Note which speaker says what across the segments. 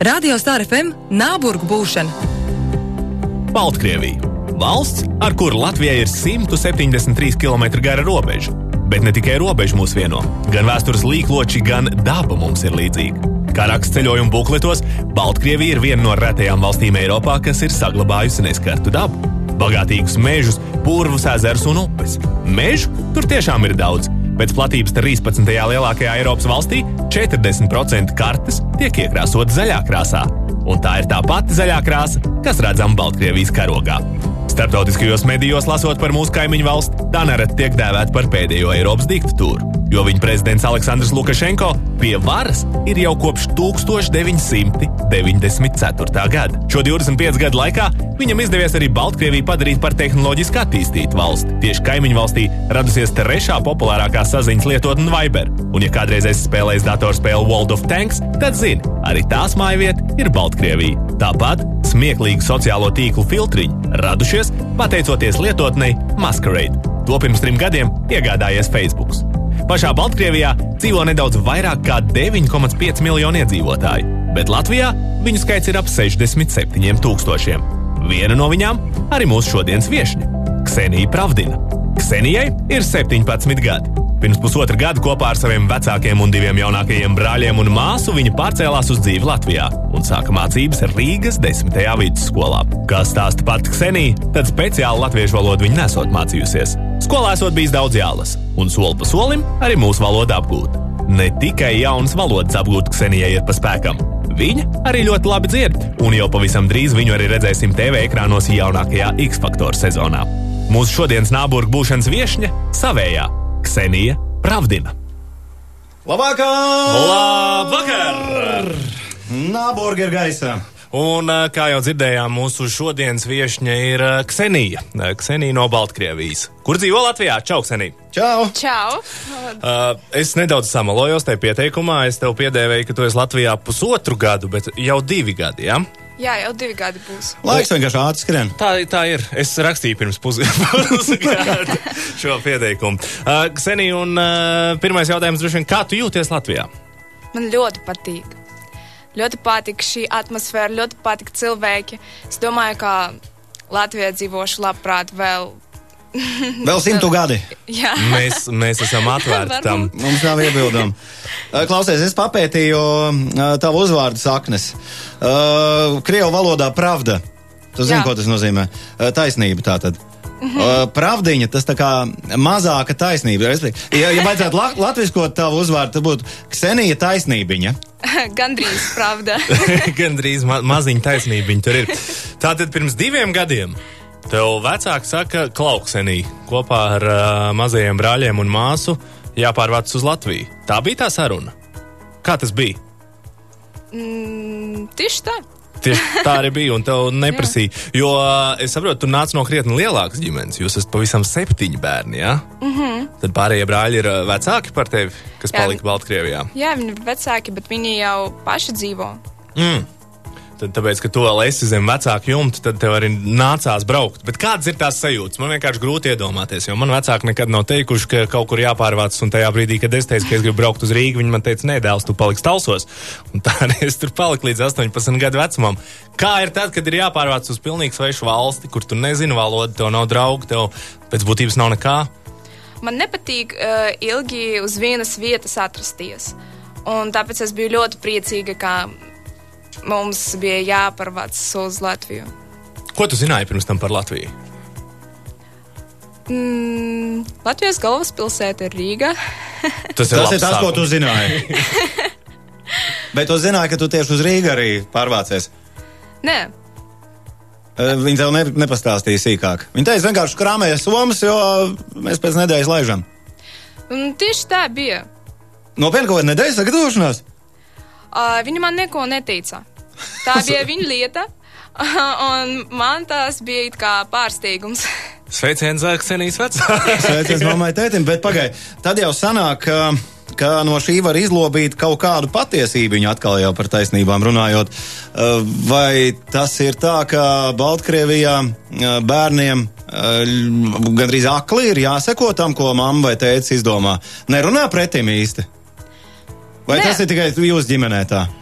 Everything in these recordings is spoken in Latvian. Speaker 1: Radio Star FM Nāburgu būšana.
Speaker 2: Baltkrievija - valsts, ar kuru Latvijai ir 173 km gara robeža. Bet ne tikai robeža mūs vieno, gan vēstures līkloči, gan daba mums ir līdzīga. Kā raksts ceļojuma bukletos, Baltkrievija ir viena no retajām valstīm Eiropā, kas ir saglabājusi neskartu dabu. Bagātīgus mežus, purvus, ezerus un upes. Mežu tur tiešām ir daudz. Pēc platības 13. lielākajā Eiropas valstī 40% kartes tiek iekrāsot zaļā krāsā un tā ir tā pati zaļā krāsa, kas redzama Baltkrievijas karogā. Startautiskajos medijos lasot par mūsu kaimiņu valsti, tā nereti tiek dēvēta par pēdējo Eiropas diktatūru, jo viņa prezidents Aleksandrs Lukašenko pie varas ir jau kopš 1994. gada. Šo 25 gadu laikā viņam izdevies arī Baltkrieviju padarīt par tehnoloģiski attīstītu valsti. Tieši kaimiņu valstī radusies trešā populārākā saziņas lietotne Viber, un ja kādreiz esi spēlējis datorspēli World of Tanks, tad zini, arī tās mājvieta ir Baltkrievija. Tāpat smieklīgi sociālo tīklu filtriņi radušies pateicoties lietotnei Masquerade. To pirms trim gadiem iegādājies Facebook. Pašā Baltkrievijā dzīvo nedaudz vairāk nekā 9,5 miljoni iedzīvotāji, bet Latvijā viņu skaits ir ap 67 tūkstošiem. Viena no viņām arī mūsu šodienas viesne - Ksenija Pravdina. Ksenijai ir 17 gadi. Pirms pusotra gada kopā ar saviem vecākiem un diviem jaunākajiem brāļiem un māsu viņa pārcēlās uz dzīvi Latvijā un sāka mācības Rīgas 10. vidusskolā. Kā stāsta pati Ksenija, tad speciāli latviešu valodu viņa nesot mācījusies. Skolā esot bijis daudz jālas, un soli pa solim arī mūsu valoda apgūt. Ne tikai jaunas valodas apgūt Ksenijai ir pa spēkam. Viņa arī ļoti labi dzird, un jau pavisam drīz viņu arī redzēsim TV ekrānos jaunākajā X-Factor sezonā. Mūsu šodienas nāburgu būšanas viesne - savējā Ksenija Pravdina.
Speaker 3: Labvakar!
Speaker 2: Labvakar!
Speaker 3: Nāborgi ir gaisā!
Speaker 2: Un, eh, kā jau dzirdējām, mūsu šodienas viesne ir eh, Ksenija. Eh, Ksenija no Baltkrievijas. Kur dzīvo Latvijā? Čau, Ksenija!
Speaker 3: Čau!
Speaker 4: Čau!
Speaker 2: Uh, es nedaudz samalojos tajā pieteikumā. Es tev piedēvēju, ka tu esi Latvijā pusotru gadu, bet jau divi gadi. Ja?
Speaker 4: Jā, jau divi gadi būs.
Speaker 3: Laiks vienkārši atskrien.
Speaker 2: Tā, tā ir. Es rakstīju pirms pusgada šo pieteikumu. Uh, Ksenija, un uh, pirmais jautājums droši vien, kā tu jūties Latvijā?
Speaker 4: Man ļoti patīk. Ļoti patīk šī atmosfēra, ļoti patīk cilvēki. Es domāju, ka Latvijā dzīvošu labprāt vēl.
Speaker 3: Vēl simtu gadi.
Speaker 4: Jā,
Speaker 2: Mēs, mēs esam atvērti tam.
Speaker 4: Varbūt.
Speaker 3: Mums nav iebildumi. Eh, Klausies, es papētīju eh, tavu uzvārdu saknes. Eh, Krievu valodā pravda. Tu zini,
Speaker 4: Jā.
Speaker 3: ko tas nozīmē? Eh, Taisnība tā tad. Eh, Pravdiņa, tas tā kā mazāka taisnība. respektīvi. Ja, ja vajadzētu la latviskot tavu uzvārdu, tad būtu Ksenija taisnībiņa.
Speaker 4: gandrīz, pravda.
Speaker 2: Gan drīz ma maziņa taisnība viņa tur ir. Tātad pirms diviem gadiem tev vecāki saka, klauksenī kopā ar uh, mazajiem brāļiem un māsu jāpārvāc uz Latviju. Tā bija tā saruna. Kā tas bija?
Speaker 4: Mm, Tieši tā.
Speaker 2: Tieši tā arī bija, un tev neprasīja. Jo ā, es saprotu, tu nāc no krietni lielākas ģimenes. Jūs esat pavisam septiņi bērni. Ja? Mm -hmm. Tad pārējie brāļi ir ā, vecāki par tevi, kas
Speaker 4: Mhm. Jā.
Speaker 2: palika Baltkrievijā.
Speaker 4: Jā, viņi ir vecāki, bet viņi jau paši dzīvo.
Speaker 2: Tad, tāpēc, ka tu vēl esi zem vecāka jumta, tad tev arī nācās braukt. Bet kādas ir tās sajūtas? Man vienkārši grūti iedomāties, jo man vecāki nekad nav teikuši, ka kaut kur jāpārvācas. Un tajā brīdī, kad es teicu, ka es gribu braukt uz Rīgā, viņi man teica, nē, dēls, tu paliksi talsos. Un tā arī es tur paliku līdz 18 gadu vecumam. Kā ir tad, kad ir jāpārvācas uz pilnīgi svešu valsti, kur tu nezini valodu, tev nav draugu, tev pēc būtības nav nekā?
Speaker 4: Man nepatīk uh, ilgi uz vienas vietas atrasties. Un tāpēc es biju ļoti priecīga, ka mums bija jāparvāc uz Latviju.
Speaker 2: Ko tu zināji pirms tam par Latviju?
Speaker 4: Mm, Latvijas galvaspilsēta ir Rīga.
Speaker 3: Tas ir
Speaker 2: labs
Speaker 3: tas, ko
Speaker 2: sākums.
Speaker 3: tu zināji. Bet tu zināji, ka tu tieši uz Rīgā arī pārvācies.
Speaker 4: Nē,
Speaker 3: Eh, Viņi tev ne, nepastāstīja sīkāk. Viņi teica, vienkārši krāpējies somas, jo mēs pēc nedēļas laižam.
Speaker 4: mm, tieši tā bija.
Speaker 3: Nopietni, kaut kāda nedēļas sagatavošanās.
Speaker 4: Uh, viņa man neko neteica. Tā bija viņa lieta, un man tas bija it kā pārsteigums.
Speaker 2: Sveiciens, Zvaigznes, vecāks!
Speaker 3: Sveiciens mammai, tētim, bet pagaidi. Tad jau sanāk, ka, ka no šī var izlobīt kaut kādu patiesību. Viņa atkal jau par taisnībām runājot. Eh, Vai tas ir tā, ka Baltkrievijā eh, bērniem eh, ļ- gandrīz akli ir jāseko tam, ko mamma vai tēvs izdomā? Nerunā pretim īsti. Vai
Speaker 4: Nē.
Speaker 3: tas ir tikai jūsu ģimenē tā?
Speaker 4: Uh,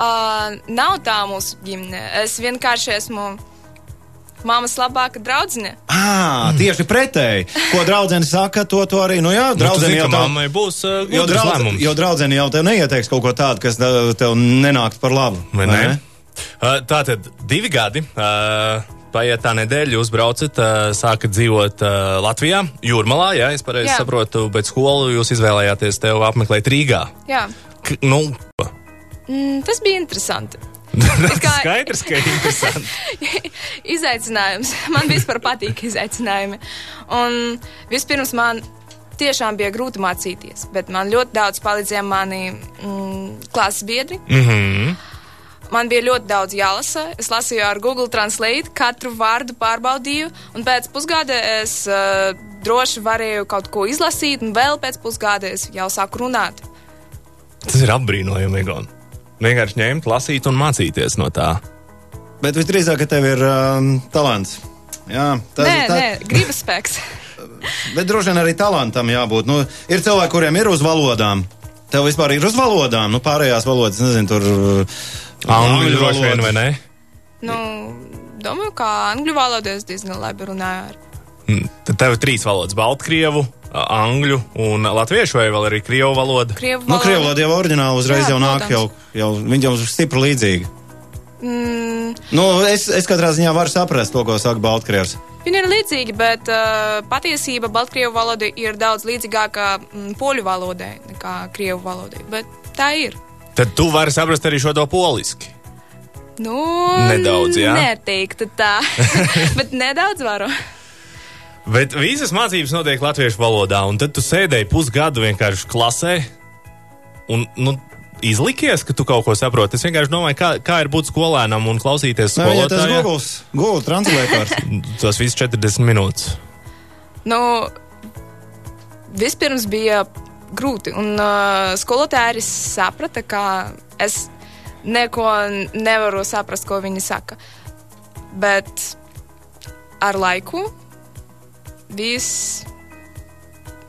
Speaker 4: Uh, nav tā mūsu ģimene. Es vienkārši esmu mammas labāka draudzene.
Speaker 3: À, Ah, tieši pretēji. Ko draudzene saka, to, to arī. Nu, jā, draudzene
Speaker 2: jau
Speaker 3: jau tā.
Speaker 2: mammai būs uh,
Speaker 3: Jo,
Speaker 2: gudrs
Speaker 3: draudz,
Speaker 2: lēmums.
Speaker 3: jo draudzene jau tev neieteiks kaut ko tādu, kas da- tev nenākt par labu.
Speaker 2: Vai ne? Uh, tā tad divi gadi. Uh, Paiet tā nedēļa, jūs braucat, uh, sākat dzīvot uh, Latvijā, Jūrmalā, ja es pareizi
Speaker 4: Jā.
Speaker 2: saprotu, bet skolu jūs izvēlējāties tev apmeklēt Rīgā.
Speaker 4: Jā.
Speaker 2: K nu,
Speaker 4: Mm, tas bija interesanti. kā-
Speaker 2: skaidrs, ka interesanti.
Speaker 4: Izaicinājums. Man vispār patīk izaicinājumi. Un vispirms man tiešām bija grūti mācīties, bet man ļoti daudz palīdzēja mani mm, klases biedri. Mm -hmm. Man bija ļoti daudz jālasa. Es lasīju ar Google Translate, katru vārdu pārbaudīju, un pēc pusgada es uh, droši varēju kaut ko izlasīt, un vēl pēc pusgada es jau sāku runāt.
Speaker 2: Tas ir apbrīnojami, Egon. Vienkārši ņemt, lasīt un mācīties no tā.
Speaker 3: Bet visdrīzāk, ka tev ir um, talants. Jā, tas
Speaker 4: nē,
Speaker 3: tā,
Speaker 4: nē, gribas spēks.
Speaker 3: Bet droši vien arī talantam jābūt. Nu, ir cilvēki, kuriem ir uz valodām. Tev vispār ir uz valodām, nu pārējās valodas, nezinu, tur. uh,
Speaker 2: Angļu droši vien, vai
Speaker 3: valoda.
Speaker 2: ne?
Speaker 4: Nu, domāju, ka angļu valodā es diezgan labi runāju. Ar.
Speaker 2: Mm, Tad tev ir trīs valodas - Baltkrievu, uh, Angļu un Latviešu, vai vēl arī Krievu valoda.
Speaker 4: Krievu
Speaker 3: Nu,
Speaker 4: valodu.
Speaker 3: krievu valoda jau oriģināli uzreiz
Speaker 4: Jā,
Speaker 3: jau nāk,
Speaker 4: protams.
Speaker 3: jau, jau viņi jau ir stipri līdzīgi.
Speaker 4: Mm,
Speaker 3: Nu, es, es katrā ziņā varu saprast to, ko saka Baltkrievs.
Speaker 4: viņi ir līdzīgi, bet uh, patiesībā Baltkrievu valoda ir daudz līdzīgāka mm, poļu valodai nekā krievu valodai. Bet tā ir.
Speaker 2: Tad tu vari saprast arī šo to poliski.
Speaker 4: Nu,
Speaker 2: Nedaudz, jā?
Speaker 4: Neteiktu tā, bet nedaudz varu.
Speaker 2: Bet visas mācības notiek latviešu valodā, un tad tu sēdēji pusgadu vienkārši klasē un nu, izlikies, ka tu kaut ko saproti. Es vienkārši domāju, kā, kā ir būt skolēnam un klausīties
Speaker 3: Nē, ja tas
Speaker 2: skolotājā.
Speaker 3: Google, Google translētājs.
Speaker 2: Tas viss 40 minūtes.
Speaker 4: Nu, vispirms bija grūti, un uh, skolotāja arī saprata, ka es neko nevaru saprast, ko viņi saka. Bet ar laiku viss.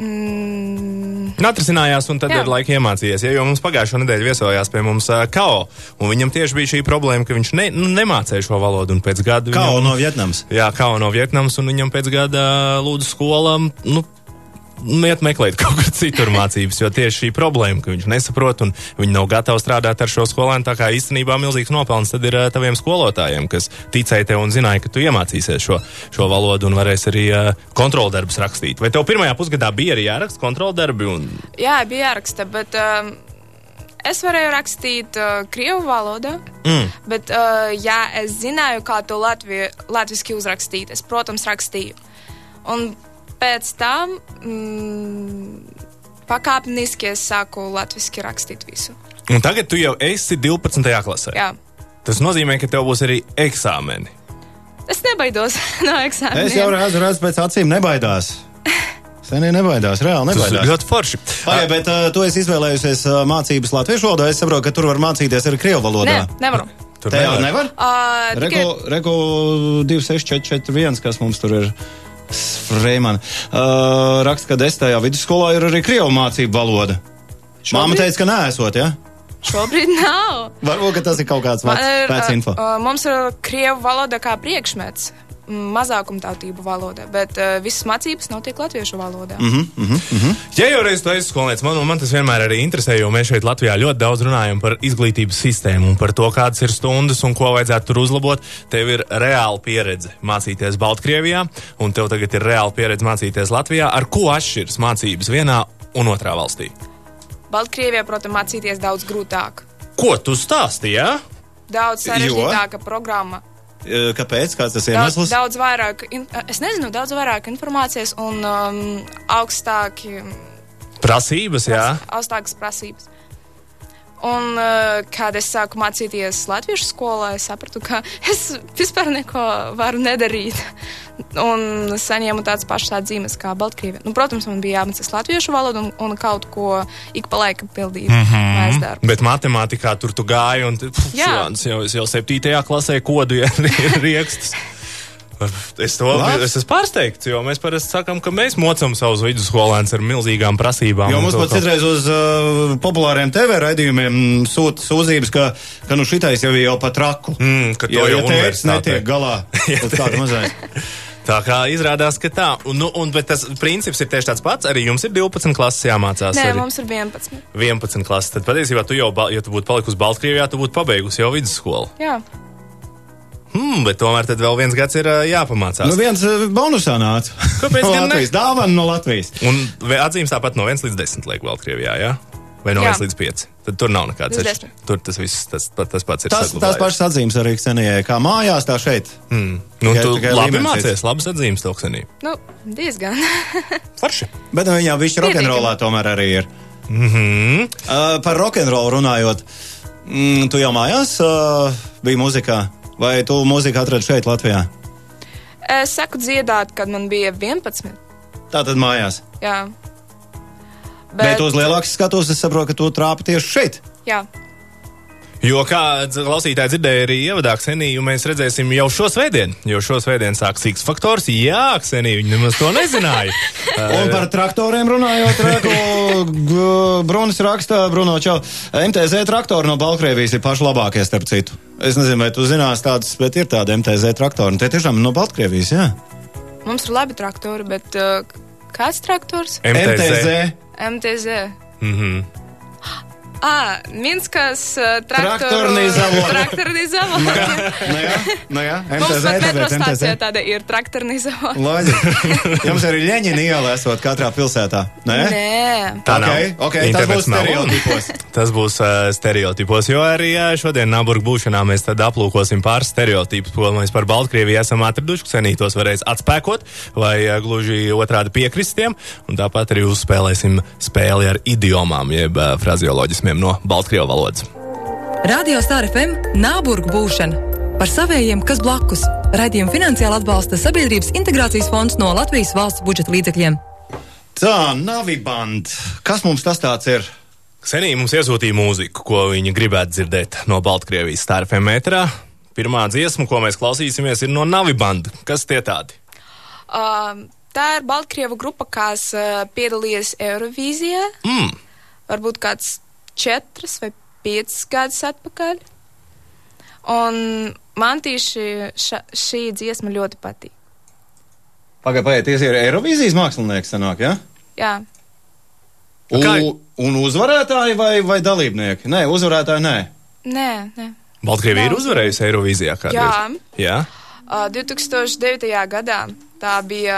Speaker 4: Mm,
Speaker 2: Atrasinājās, un tad
Speaker 4: Jā.
Speaker 2: ar laiku iemācījās. Ja, jo mums pagājušā nedēļa viesojās pie mums uh, Kao, un viņam tieši bija šī problēma, ka viņš ne, nu, nemācīja šo valodu. un Pēc gada
Speaker 3: Kā
Speaker 2: viņam,
Speaker 3: no Vietnams.
Speaker 2: Jā, Kao no Vietnamas, un viņam pēc gada uh, lūdzu skolām. Nu, nu, Iet meklēt kaut kur citur mācības, jo tieši šī problēma, ka viņš nesaprot un viņi nav gatavi strādāt ar šo skolēnu, tā kā īstenībā milzīgs nopelns tad ir ā, taviem skolotājiem, kas ticēja tev un zināja, ka tu iemācīsies šo, šo valodu un varēsi arī ā, kontroldarbus rakstīt. Vai tev pirmajā pusgadā bija arī jāraksta kontroldarbi? Un...
Speaker 4: jā, bija jāraksta, bet um, es varēju rakstīt uh, krievu valodā.
Speaker 2: Mm.
Speaker 4: Bet, uh, ja es zināju, kā to latvi, latviešu uzrakstīt, es, protams, rakstīju. Un pēc tam mm, pakāpeniski es sāku latviešu rakstīt visu.
Speaker 2: Un tagad tu jau esi 12. klasē.
Speaker 4: Jā.
Speaker 2: Tas nozīmē, ka tev būs arī eksāmeni.
Speaker 4: Es nebaidos no eksāmena.
Speaker 3: Es jau redzu, redzu pēc acīm nebaidās. Senī nebaidās, reāli
Speaker 2: Tas ir
Speaker 3: nebaidās.
Speaker 2: ļoti forši.
Speaker 3: Pagaidiet, bet uh, tu esi izvēlējusies uh, mācības latviešu valodā. Es saprotu, ka tur var mācīties arī krievu
Speaker 4: Nē,
Speaker 3: valodā.
Speaker 4: nevaru.
Speaker 2: Tur
Speaker 3: Tā jau
Speaker 2: nevar.
Speaker 3: nevar.
Speaker 4: Uh, tikai,
Speaker 3: Reko, reko 26441, kas mums tur ir. Freiman. Uh, raksta, ka desmitajā vidusskolā ir arī krievu mācību valoda. Māma teica, ka neesot, ja?
Speaker 4: šobrīd nav.
Speaker 3: Varbūt, ka tas ir kaut kāds
Speaker 4: Man ir,
Speaker 3: vārds pēc
Speaker 4: ā,
Speaker 3: info.
Speaker 4: ā, mums ir krievu valoda kā priekšmets, mm, mazākumtautību valoda, bet uh, visas mācības notiek latviešu valodā. Mm
Speaker 3: Mhm.
Speaker 4: -hmm.
Speaker 2: Ja jau reiz tu esi skolnieks, man, man tas vienmēr arī interesē, jo mēs šeit Latvijā ļoti daudz runājam par izglītības sistēmu un par to, kādas ir stundas un ko vajadzētu tur uzlabot. Tev ir reāla pieredze mācīties Baltkrievijā, un tev tagad ir reāla pieredze mācīties Latvijā. Ar ko atšķiras mācības vienā un otrā valstī?
Speaker 4: Baltkrievijā, protams, mācīties daudz grūtāk.
Speaker 2: Ko tu stāstīji? Ja?
Speaker 4: Daudz
Speaker 3: Jo?
Speaker 4: sarežģītāka programma.
Speaker 3: Uh, Kāpēc? Kāds tas
Speaker 4: Daudz,
Speaker 3: iemesls?
Speaker 4: daudz vairāk, in, es nezinu, daudz vairāk informācijas un um, augstāki,
Speaker 2: Prasības, jā.
Speaker 4: augstākas prasības. Un, uh, kad es sāku mācīties Latviešu skolā, es sapratu, ka es vispār neko varu nedarīt. Un saņēmu tādas pašas atzīmes kā Baltkrievija. Nu, protams, man bija jāmācās latviešu valodu un, un kaut ko ik pa laikam pildīt. Mm -hmm. Mēs darām.
Speaker 2: Bet matemātikā tur tu gāji, un tu
Speaker 4: Jā.
Speaker 2: jau, es jau septītajā klasē kodu ja, riekstus. Es, to,
Speaker 3: Labs.
Speaker 2: es esmu pārsteigts, jo mēs parasti sakām, ka mēs mocām savus vidusskolēnus ar milzīgām prasībām.
Speaker 3: Jo
Speaker 2: un
Speaker 3: mums
Speaker 2: to-
Speaker 3: pat citreiz uz uh, populāriem TV raidījumiem sūta sūdzības, ka, ka nu šitais jau ir jau pat raku.
Speaker 2: Mm, ka to
Speaker 3: jo,
Speaker 2: jau
Speaker 3: ja tēvs
Speaker 2: universitātē.
Speaker 3: netiek galā. Tas tāds mazais.
Speaker 2: Tā kā izrādās, ka tā. Un, nu, un, bet tas princips ir tieši tāds pats. Arī jums ir 12 klases jāmācās.
Speaker 4: Nē,
Speaker 2: arī.
Speaker 4: mums ir 11.
Speaker 2: 11 klases. Tad patiesībā tu jau, ba- ja tu būtu palikusi Baltkrievijā, tu būtu pabeigusi jau vidusskolu.
Speaker 4: Jā,
Speaker 2: Hmm, bet tomēr tad vēl viens gads ir ā, jāpamācās.
Speaker 3: Nu viens uh, bonusā nāca.
Speaker 2: Kāpēc
Speaker 3: no
Speaker 2: gan ne?
Speaker 3: Latvijas? Dāvana no Latvijas.
Speaker 2: Un vē- atzīmes tāpat no 1 līdz 10 liek Baltkrievijā, jā? Vai no
Speaker 4: Jā.
Speaker 2: 1 līdz 5? Tad tur nav nekāds
Speaker 4: Līdz
Speaker 2: ceļš.
Speaker 4: 10.
Speaker 2: Tur tas viss tas, pa- tas pats ir.
Speaker 3: Tas, tās
Speaker 2: saglabājies.
Speaker 3: pašas atzīmes arī ksenijai, kā mājās, tā šeit.
Speaker 2: Mm. Nu,
Speaker 3: Tikai-
Speaker 2: tu
Speaker 3: tikai
Speaker 2: labi
Speaker 3: līmenis
Speaker 2: mācies, labas atzīmes toksenī.
Speaker 4: nu, diezgan.
Speaker 2: Forši.
Speaker 3: Bet nu, viņām viņš rokenrolā tomēr arī ir.
Speaker 2: Mm.
Speaker 3: Uh, par rokenrolu runājot, mm, tu jau mājās uh, biji muzikā, vai tu mūziku atradi šeit, Latvijā?
Speaker 4: es saku dziedāt, kad man bija 11.
Speaker 3: Tā tad mājās.
Speaker 4: Jā.
Speaker 3: Bet, Bet uz lielākas skatos, es saprotu, ka tu trāpi tieši šeit.
Speaker 4: jā.
Speaker 2: Jo, kā dz- klausītāji dzirdēja, arī ievadā Kseniju mēs redzēsim jau šo svētdienu. Jo šo svētdienu sāks X faktors. Jā, Ksenija, viņi nemaz to nezināja.
Speaker 3: Un par traktoriem runājot, Rēko Brunis raksta, Bruno Čau, MTZ traktori no Baltkrievijas ir paši labākie, starp citu. Es nezinu, vai tu zinās tādas, bet ir tāda MTZ traktori. Un Tie tiešām ir no Baltkrievijas, jā.
Speaker 4: Mums ir labi traktori, bet uh, kāds traktors?
Speaker 3: MTZ
Speaker 4: MTZ.
Speaker 2: Mm -hmm.
Speaker 4: À, Minskas uh,
Speaker 3: Traktorni zavod.
Speaker 4: Traktorni zavod.
Speaker 3: Nu jā, nu jā,
Speaker 4: Mums
Speaker 3: MTZ,
Speaker 4: pat metro
Speaker 3: tāpēc
Speaker 4: stācijā
Speaker 3: MTZ.
Speaker 4: tāda ir traktorni zavod.
Speaker 3: Loģiski. Jums arī Ļeņina iela esot katrā pilsētā. Nē?
Speaker 4: Nē.
Speaker 2: Tā
Speaker 3: Okay,
Speaker 2: nav.
Speaker 3: okay, tas
Speaker 2: Internets
Speaker 3: būs
Speaker 2: nav.
Speaker 3: stereotipos.
Speaker 2: Tas būs uh, stereotipos, jo arī uh, šodien Nāburgu būšanā mēs tad aplūkosim pāris stereotipus, ko mēs par Baltkrieviju esam atraduši. Senītos varēs atspēkot vai uh, gluži otrādi piekristiem. Un tāpat arī uzspēlēsim spēli ar idiomām, jeb uh, frazioloģismiem no Baltkrievu valodas.
Speaker 1: Radio Star FM Nāburgu būšana par savējiem, kas blakus. Radījumu finansiāli atbalsta Sabiedrības integrācijas fonds no Latvijas valsts budžeta līdzekļiem.
Speaker 3: Tā, Naviband. Kas mums tas tāds ir?
Speaker 2: Senī mums iesūtīja mūziku, ko viņi gribētu dzirdēt no Baltkrievijas starpiem metrā. Pirmā dziesma, ko mēs klausīsimies, ir no Navibanda. Kas tie tādi?
Speaker 4: Uh, tā ir Baltkrievu grupa, kas uh, piedalījies Eirovīzijā.
Speaker 2: Mm.
Speaker 4: varbūt kāds četras vai piecas gadus atpakaļ. Un man tieši ša, šī dziesma ļoti patīk.
Speaker 3: Pagaidiet, tie ir Eirovīzijas mākslinieks, sanāk, jā? Ja?
Speaker 4: Jā,
Speaker 3: Un,
Speaker 2: Kā-
Speaker 3: un uzvarētāji vai, vai dalībnieki? Nē, uzvarētāji nē.
Speaker 4: nē, nē.
Speaker 2: Baltkrievija ir uzvarējusi Eirovīzijā kādreiz. Jā.
Speaker 4: Uh, 2009. gadā tā bija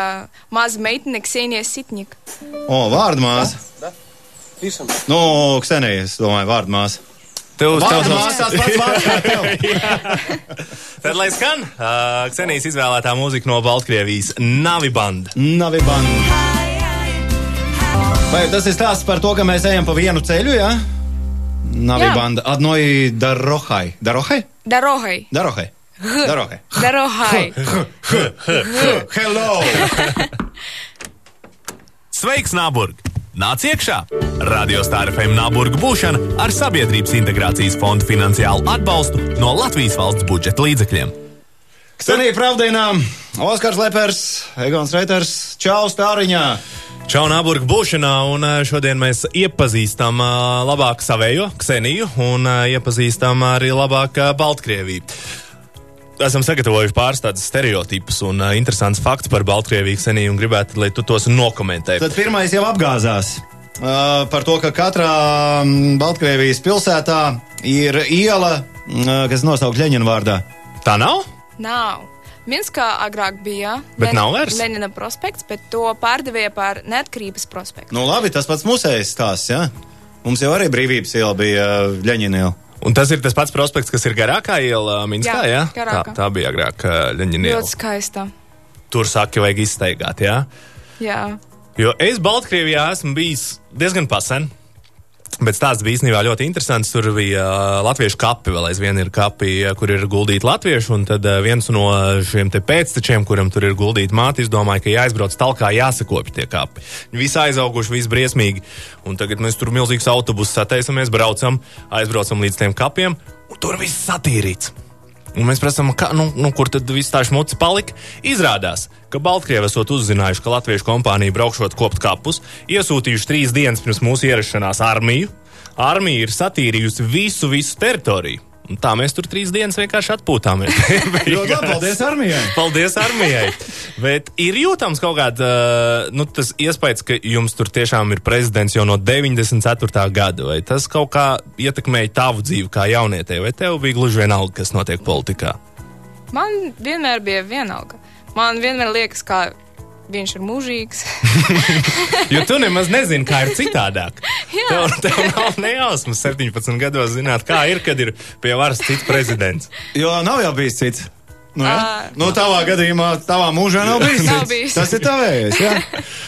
Speaker 4: maza meitene Ksenija Sitnika.
Speaker 3: O, vārdu māsa. Nu, Ksenija, es domāju, vārdu māsa.
Speaker 2: Tev
Speaker 3: Vārdu
Speaker 2: uzstāstos.
Speaker 3: māsa, tas pats vārds kā tev.
Speaker 2: Tad, lai skan uh, Ksenijas izvēlētā mūzika no Baltkrievijas Navibanda.
Speaker 3: Naviban. Vai tas ir stāsts par to, ka mēs ejam pa vienu ceļu, jā? Ja? Navibanda. Adnoji Darohai. Darohai?
Speaker 4: Darohai!
Speaker 3: Darohai. Darohai.
Speaker 4: Darohai!
Speaker 3: Hello!
Speaker 2: Sveiks, Nāburg! Nāc iekšā! Radio Stāra FM Nāburga būšana ar Sabiedrības integrācijas fonda finansiālu atbalstu no Latvijas valsts budžeta līdzekļiem.
Speaker 3: Ksenija Pravdīnā, Oskars Lepers, Egons Reiters, Čau Stāriņā.
Speaker 2: Čau, Nāburga būšanā, un ā, šodien mēs iepazīstam ā, labāk savējo Kseniju un ā, iepazīstam arī labāk ā, Baltkrieviju. Esam sagatavojuši pāris tādus stereotipus un ā, interesants fakts par Baltkrieviju, Kseniju, un gribētu, lai tu tos nokomentē.
Speaker 3: Tad pirmais jau apgāzās uh, par to, ka katrā mm, Baltkrievijas pilsētā ir iela, mm, kas nosaukta Leņķina vārdā.
Speaker 2: Tā nav?
Speaker 4: Nav. Minskā agrāk bija
Speaker 2: Bet nav vairs?
Speaker 4: Lenina prospekts, bet to pārdevēja par neatkarības prospektu.
Speaker 3: Nu, labi, tas pats musējs stāsts. Ja? Mums jau arī brīvības iela bija Leņķina iela.
Speaker 2: Un tas ir tas pats prospekts, kas ir garākā iela Minskā. Jā,
Speaker 4: Jā,
Speaker 2: tā,
Speaker 4: garākā.
Speaker 2: tā bija agrāk Leņķina.
Speaker 4: Ļoti skaista.
Speaker 2: Tur saka, vajag izstaigāt. Jā?
Speaker 4: Jā.
Speaker 2: Jo es Baltkrievijā esmu bijis diezgan pasen. Bet stāsts bija īstenībā ļoti interesants. Tur bija uh, latviešu kapi, vēl aizvien ir kapi, uh, kur ir guldīti latvieši. Un tad uh, viens no šiem te pēctečiem, kuram tur ir guldīta māte, izdomāja, ka jāizbrauc tālāk, jāsakopja tie kapi. Viņi visi aizauguši, visi briesmīgi. Un tagad mēs tur milzīgs autobusus sataisamies, braucam, aizbraucam līdz tiem kapiem, un tur viss satīrīts. Un mēs prasām, kā, nu, nu, kur tad viss tā šmucis palika. Izrādās, ka Baltkrievi esot uzzinājuši, ka latviešu kompānija braukšot kopt kapus, iesūtījuši trīs dienas pirms mūsu ierašanās armiju. Armija ir satīrījusi visu, visu teritoriju. Un tā mēs tur trīs dienas vienkārši atpūtāmies.
Speaker 3: Ļoti labi, paldies armijai!
Speaker 2: Paldies armijai! Bet ir jūtams kaut kāda uh, nu, tas iespējas, ka jums tur tiešām ir prezidents jau no 94. gada. Vai tas kaut kā ietekmēja tavu dzīvi kā jaunietē, vai tev bija gluži vienalga, kas notiek politikā?
Speaker 4: Man vienmēr bija vienalga. Man vienmēr liekas, ka viņš ir mūžīgs.
Speaker 2: Jo tu nemaz nezini, kā ir citādāk.
Speaker 4: Jā.
Speaker 2: Tev, tev nav nejausmas 17 gados zināt, kā ir, kad ir pie varas cits prezidents.
Speaker 3: Jo nav jau bijis cits. Nu, jā.
Speaker 4: Ā.
Speaker 3: nu, tavā gadījumā, tavā mūžā nav bijis. cits.
Speaker 4: Nav Ah. bijis.
Speaker 3: Tas ir tavējais. Jā.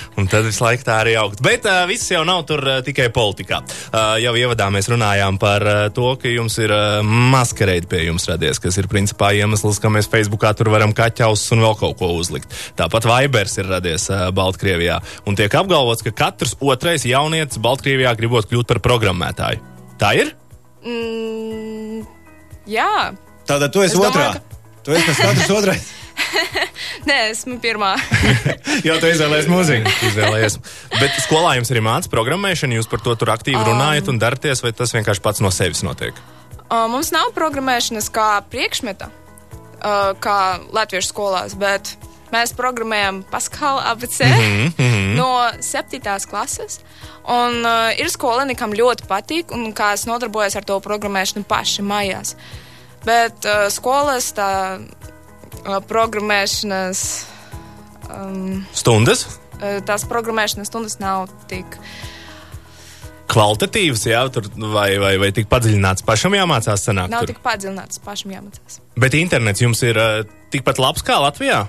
Speaker 2: Un tad visu laiku tā arī augt. Bet uh, viss jau nav tur uh, tikai politikā. Uh, jau ievadā mēs runājām par uh, to, ka jums ir uh, maskarēdi pie jums radies, kas ir principā iemesls, ka mēs Facebookā tur varam kaķausus un vēl kaut ko uzlikt. Tāpat Vaibers ir radies uh, Baltkrievijā. Un tiek apgalvots, ka katrs otrais jaunietis Baltkrievijā gribot kļūt par programmētāju. Tā ir?
Speaker 4: Mm, jā,
Speaker 3: Tātad tu esi
Speaker 4: Es domāju,
Speaker 3: otrā.
Speaker 4: ka-
Speaker 3: Tu esi tas katrs otrais.
Speaker 4: nē, esmu pirmā.
Speaker 3: Jā, tu izvēlējies mūziku.
Speaker 2: Izvēlējies. Bet skolā jums arī mācās programmēšanu, jūs par to tur aktīvi runājat un darties, vai tas vienkārši pats no sevis notiek?
Speaker 4: Uh, Mums nav programmēšanas kā priekšmeta, uh, kā latviešu skolās, bet mēs programmējam Paskalu ABC mm -hmm. no 7. klases. Un uh, ir skolēni, kam ļoti patīk, un kas nodarbojas ar to programmēšanu paši mājās. Bet uh, skolas tā, uh, programmēšanas, um,
Speaker 2: Stundas?
Speaker 4: uh, tās programmēšanas stundas nav tik.
Speaker 2: kvalitatīvs, jā, tur, vai, vai, vai tik padziļināts pašam jāmācās sanākt.
Speaker 4: Nav
Speaker 2: tur.
Speaker 4: tik padziļināts, pašam jāmācās.
Speaker 2: Bet internets jums ir uh, tikpat labs kā Latvijā?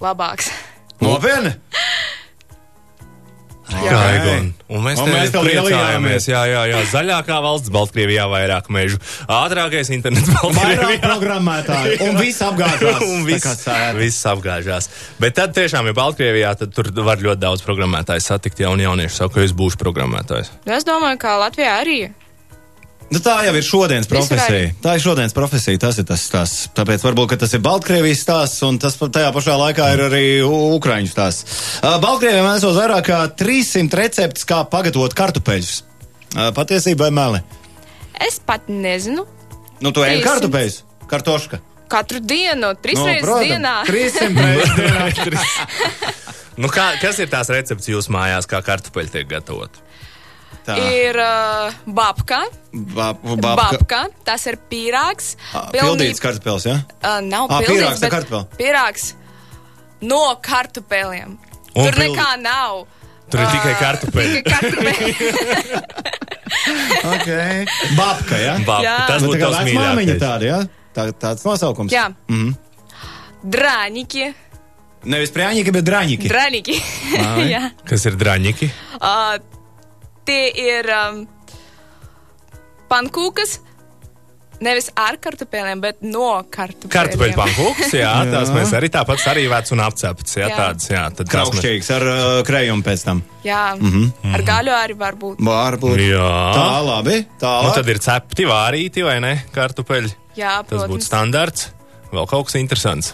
Speaker 4: Labāks.
Speaker 3: Nopietni!
Speaker 2: Jā, Egon. Un mēs
Speaker 3: Un
Speaker 2: tam
Speaker 3: mēs tev lielījāmies.
Speaker 2: priecājāmies. Jā, jā, jā. Zaļākā valsts Baltkrievijā vairāk mežu. Ātrākais internets
Speaker 3: Vairāk
Speaker 2: Baltkrievijā.
Speaker 3: programmētāji un viss apgādās.
Speaker 2: Un viss, viss apgāžās. Bet tad tiešām, ja Baltkrievijā, tad tur var ļoti daudz programmētāju satikt. Jauni jaunieši saka, ka es būšu programmētājs.
Speaker 4: Nu, es domāju, ka Latvijā arī
Speaker 3: Nu, tā jau ir šodienas profesija.
Speaker 4: arī.
Speaker 3: Tā ir šodienas profesija. Tas ir tas stāsts. Tāpēc varbūt ka tas ir Baltkrievijas stāsts, un tas pa- tajā pašā laikā ir arī U- Ukraiņu stāsts. Uh, Baltkrievijam esot vairāk kā 300 receptes, kā pagatavot kartupeļus. Uh, Patiesībā ir meli.
Speaker 4: Es pat nezinu.
Speaker 3: Nu, tu ej
Speaker 4: 300.
Speaker 3: kartupeļus, kartoška.
Speaker 4: Katru dienu, trīs
Speaker 3: Nu,
Speaker 4: reizes
Speaker 3: protams,
Speaker 4: dienā.
Speaker 3: 300 reizes dienā.
Speaker 2: Nu, kā, kas ir tās recepts jūsu mājās, kā kartupeļi tiek gatavot?
Speaker 3: Tā.
Speaker 4: Ir uh, babka,
Speaker 3: Ba-
Speaker 4: babka.
Speaker 3: babka-
Speaker 4: babka, tas ir pīrāgs.
Speaker 3: Ā,
Speaker 4: pilnī-
Speaker 3: Pildīts kartupeļs, jā?
Speaker 4: Uh, nav
Speaker 3: Ā,
Speaker 4: pildīts,
Speaker 3: pīrāgs, ne
Speaker 4: bet
Speaker 3: kartupeli.
Speaker 4: Pīrāgs no kartupēliem.
Speaker 2: Un
Speaker 4: Tur
Speaker 2: pildi-
Speaker 4: nekā nav.
Speaker 2: Tur ir tikai
Speaker 4: Ā,
Speaker 2: kartupeļi.
Speaker 4: Tikai kartupeļi.
Speaker 3: Okay. Babka, jā?
Speaker 2: Bab,
Speaker 4: Jā.
Speaker 2: tas
Speaker 3: Nu,
Speaker 2: būtu
Speaker 3: tā kā
Speaker 2: tavs
Speaker 3: vecmāmiņa
Speaker 2: mīļākais.
Speaker 3: tāda, jā? Tā, tāds nosaukums.
Speaker 4: Jā.
Speaker 3: Mhm.
Speaker 4: Drāniki.
Speaker 3: Nevis prāņķi, bet drāņķi.
Speaker 4: Drāniki.
Speaker 3: Ai.
Speaker 4: Jā.
Speaker 2: Kas ir draņķi?
Speaker 4: Uh, tie ir um, pankūkas. Nevis ar kartupēliem, bet no kartupēliem.
Speaker 2: Kartupeļu pankūks, jā,
Speaker 3: Jā.
Speaker 2: tās mēs arī tāpat arī vec un apcepts, jā,
Speaker 4: Jā.
Speaker 2: tāds, jā, tad tās mēs.
Speaker 3: Kraukšķīgs ar uh, krējumu pēc tam.
Speaker 4: Jā, mm
Speaker 3: Mhm.
Speaker 4: -hmm. ar gaļu arī var būt.
Speaker 3: Varbūt. Tā,
Speaker 2: Jā,
Speaker 3: labi. Tā,
Speaker 2: nu
Speaker 3: labi.
Speaker 2: tad ir cepti, vārīti vai ne, kartupeļi.
Speaker 4: Jā,
Speaker 2: Tas būtu
Speaker 4: protams.
Speaker 2: standarts, vēl kaut kas interesants.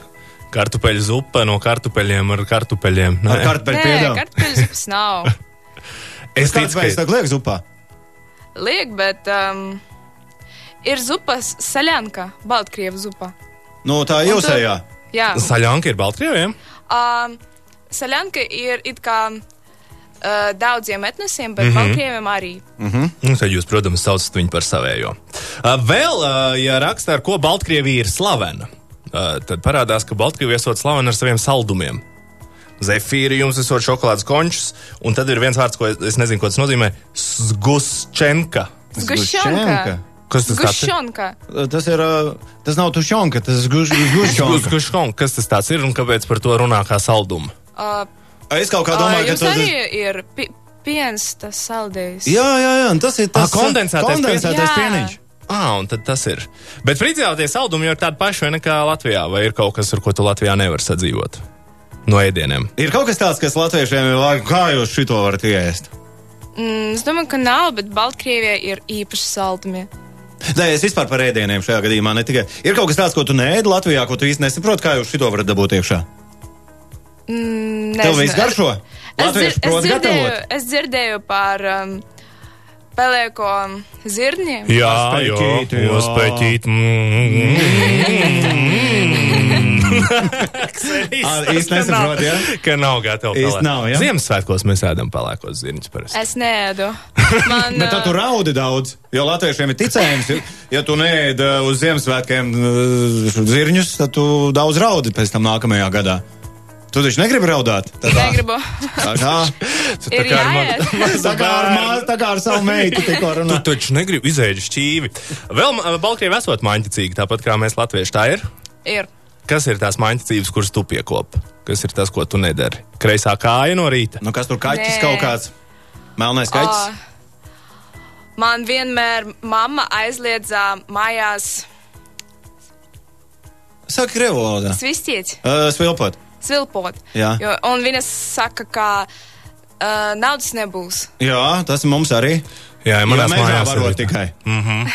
Speaker 2: Kartupeļu zupa no kartupeļiem ar kartupeļiem. Nu,
Speaker 3: Ar
Speaker 2: Nē.
Speaker 3: kartupeļu
Speaker 4: Nē,
Speaker 3: pēdām.
Speaker 4: kartupeļus nav.
Speaker 2: Es ticu,
Speaker 3: Kartupeļs
Speaker 2: ka
Speaker 3: tā liek zupā.
Speaker 4: Liek, bet um, ir zupas saļanka, Baltkrievu zupa.
Speaker 3: Nu, tā
Speaker 4: Un
Speaker 3: jūsējā.
Speaker 4: tur- Jā,
Speaker 2: saļanka ir Baltkrieviem.
Speaker 4: um, saļanka ir it kā uh, daudziem etnosiem,
Speaker 3: Mhm.
Speaker 4: bet mm -hmm. Baltkrieviem arī.
Speaker 2: Nu, tad jūs, protams, saucat viņu par savējo. Uh, Vēl, uh, ja raksta, ar ko Baltkrievija ir slavena, uh, tad parādās, ka Baltkrievija esot slavena ar saviem saldumiem. Zefīri jums esot šokolādes končus, un tad ir viens vārds, ko es, es nezinu, ko tas nozīmē - sgusčenka.
Speaker 4: Zgušonka.
Speaker 2: Kas tas tāds ir?
Speaker 4: Zgušonka.
Speaker 3: Tas ir, uh, tas nav tušonka, tas ir guž- gužonka.
Speaker 2: Sgusčenka. Kas tas tāds ir un kāpēc par to runā kā saldumu?
Speaker 4: Uh,
Speaker 3: Es kaut kā
Speaker 4: uh,
Speaker 3: domāju, ka
Speaker 4: jums
Speaker 3: tas ir.
Speaker 4: arī ir pi piens, tas saldējs.
Speaker 3: Jā, jā, jā, un tas ir tas uh,
Speaker 2: Ā, kondensētais
Speaker 3: kondensētais
Speaker 4: piens.
Speaker 3: pieniņš.
Speaker 2: Ah, un tad tas ir. Bet frīdzēloties saldumi jau ir tādi paši vai nekā Latvijā, vai ir kaut kas, ar ko tu Latvijā nevar sadzīvot? No ēdieniem.
Speaker 3: Ir kaut kas tāds, kas latviešiem ir vāji, kā jūs šito varat iest.
Speaker 4: Mm, es domāju, ka nav, bet Baltkrievijā ir īpaši saldumi.
Speaker 3: Nē, es vispār par ēdieniem šajā gadījumā ne tikai. Ir kaut kas tāds, ko tu neēdi Latvijā, ko tu īsti nesaproti, kā jūs šito varat dabūt iekšā.
Speaker 4: Mm, Nezinu.
Speaker 3: Tev viss garšo?
Speaker 4: Es, dzir
Speaker 3: Latvieši
Speaker 4: es,
Speaker 3: prot
Speaker 4: dzirdēju,
Speaker 3: gatavot.
Speaker 4: es dzirdēju par um, pelēko zirniem.
Speaker 2: Jā, jā,
Speaker 3: Uz pēķīti, jā.
Speaker 2: uz pēķīti, mm,
Speaker 3: Ar- īsti nesaprot, jā?
Speaker 2: Ka nav gatava.
Speaker 3: Īsti
Speaker 2: pelēkā.
Speaker 3: nav, jā?
Speaker 2: Ziemassvētkos mēs ēdam pelēkos zirņus parasti.
Speaker 4: Es neēdu. Man, uh,
Speaker 3: Bet tad tu raudi daudz, jo latviešiem ir ticējums, ja- ja tu neēd eh, uz Ziemassvētkiem eh, zirņus, tad tu daudz raudi pēc tam nākamajā gadā. Tu taču negribi raudāt. Tā kā-
Speaker 4: negribu.
Speaker 3: tā kā-
Speaker 2: Tu
Speaker 4: Ir
Speaker 2: ar ma-
Speaker 4: jāiet.
Speaker 2: mazu
Speaker 3: tā kā ar
Speaker 2: bērnu.
Speaker 3: mā- tā kā ar savu meitu
Speaker 2: Tu
Speaker 3: tikko runā.
Speaker 2: taču negribi izēģi šķīvi. Vēl eh, Baltkrievi esot maņķicīgi, tāpat kā mēs latvieši tā ir.
Speaker 4: Ir.
Speaker 2: Kas ir tās maņķicības, kuras tu piekopi? Kas ir tas, ko tu nedari? Kreisā kāja no rīta.
Speaker 3: Nu, kas tur kaķis
Speaker 4: Nē.
Speaker 3: kaut kāds? Melnais kaķis.
Speaker 4: Ā, Man vienmēr mamma aizliedzā mājās
Speaker 3: Saka, revolūda.
Speaker 4: svistīt,
Speaker 3: Uh, svilpot.
Speaker 4: svilpot.
Speaker 3: Jā.
Speaker 4: Jo, un viņas saka, ka uh, naudas nebūs.
Speaker 3: Jā, tas mums arī.
Speaker 2: Jā,
Speaker 3: Jo
Speaker 2: manā
Speaker 3: mēs jāvaro
Speaker 2: skatījumā
Speaker 3: tikai. Mm -hmm.